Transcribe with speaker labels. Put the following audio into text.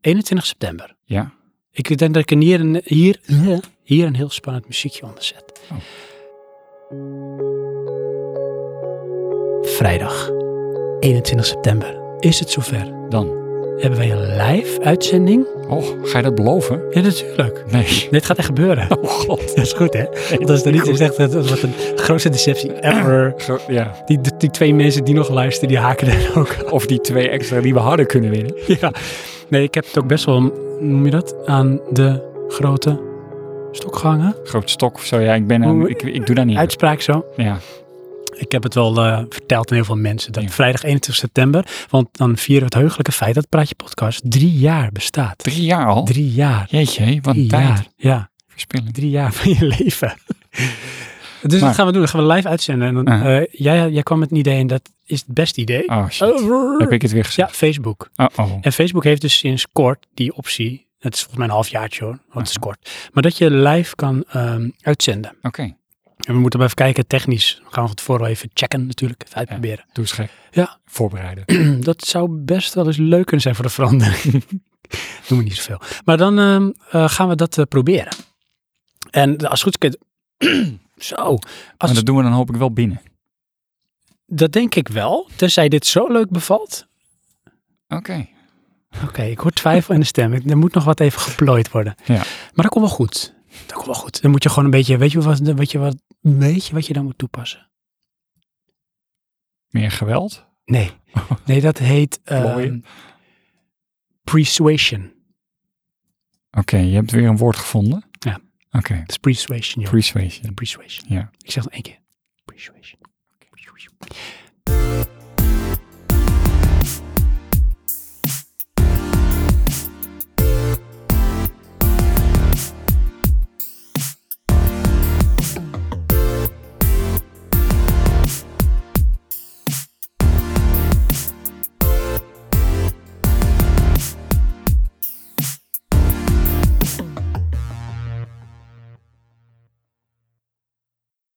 Speaker 1: 21 september.
Speaker 2: Ja.
Speaker 1: Ik denk dat ik een hier, een, hier, hier een heel spannend muziekje onder zet.
Speaker 2: Oh.
Speaker 1: Vrijdag, 21 september, is het zover.
Speaker 2: Dan.
Speaker 1: Hebben wij een live uitzending?
Speaker 2: Oh, ga je dat beloven?
Speaker 1: Ja, natuurlijk.
Speaker 2: Nee.
Speaker 1: Dit gaat echt gebeuren.
Speaker 2: Oh god.
Speaker 1: Dat is goed, hè? Want als er niet is, echt dat wordt een grootste deceptie ever.
Speaker 2: Zo, ja.
Speaker 1: Die, die twee mensen die nog luisteren, die haken daar ook
Speaker 2: Of die twee extra die we hadden kunnen winnen.
Speaker 1: Ja. Nee, ik heb het ook best wel, hoe noem je dat, aan de grote stokgangen.
Speaker 2: Groot stok of zo. Ja, ik ben aan, ik, ik doe dat niet.
Speaker 1: Uitspraak zo.
Speaker 2: Ja.
Speaker 1: Ik heb het wel eh, verteld aan heel veel mensen. Dat
Speaker 2: Ja.
Speaker 1: vrijdag 21 september, want dan vieren we het heugelijke feit dat Praatje Podcast drie jaar bestaat.
Speaker 2: Drie jaar al?
Speaker 1: Drie jaar.
Speaker 2: Jeetje, hé, wat
Speaker 1: Drie
Speaker 2: een tijd.
Speaker 1: jaar. Ja.
Speaker 2: Verspilling.
Speaker 1: drie jaar van je leven. Dus
Speaker 2: Maar-
Speaker 1: dat gaan we doen. Dat gaan we live uitzenden. En dan,
Speaker 2: Uh-huh.
Speaker 1: eh, jij, jij kwam met een idee en dat is het beste idee.
Speaker 2: Oh shit.
Speaker 1: Over.
Speaker 2: Heb ik het weer
Speaker 1: Ja,
Speaker 2: gezegd?
Speaker 1: Facebook.
Speaker 2: Ja. Oh, oh.
Speaker 1: En Facebook heeft dus sinds kort die optie. Het is volgens mij een halfjaartje hoor, want het is kort. Maar dat je live kan ehm, uitzenden.
Speaker 2: Oké.
Speaker 1: En we moeten maar even kijken, technisch. Dan gaan we het vooral even checken natuurlijk, even uitproberen.
Speaker 2: Doe eens gek.
Speaker 1: Ja.
Speaker 2: Voorbereiden.
Speaker 1: Dat zou best wel eens leuk kunnen zijn voor de verandering. Doen we niet zoveel. Maar dan ehm, eh, gaan we dat eh, proberen. En als het goed is, kun je- zo. Als
Speaker 2: Maar dat doen we dan hoop ik wel binnen.
Speaker 1: Dat denk ik wel, tenzij dit zo leuk bevalt.
Speaker 2: Oké.
Speaker 1: Oké, ik hoor twijfel in de stem. Ik- Er moet nog wat even geplooid worden.
Speaker 2: Ja.
Speaker 1: Maar dat komt wel goed. Dat komt wel goed. Dan moet je gewoon een beetje, weet je wat, weet je wat, weet je wat je dan moet toepassen?
Speaker 2: Meer geweld?
Speaker 1: Nee, nee dat heet
Speaker 2: Plooien.
Speaker 1: ehm persuasion.
Speaker 2: Oké, je hebt weer een woord gevonden.
Speaker 1: Ja.
Speaker 2: Oké.
Speaker 1: Dat is persuasion, joh.
Speaker 2: Persuasion.
Speaker 1: Persuasion.
Speaker 2: Ja.
Speaker 1: Ik zeg het één keer. Persuasion.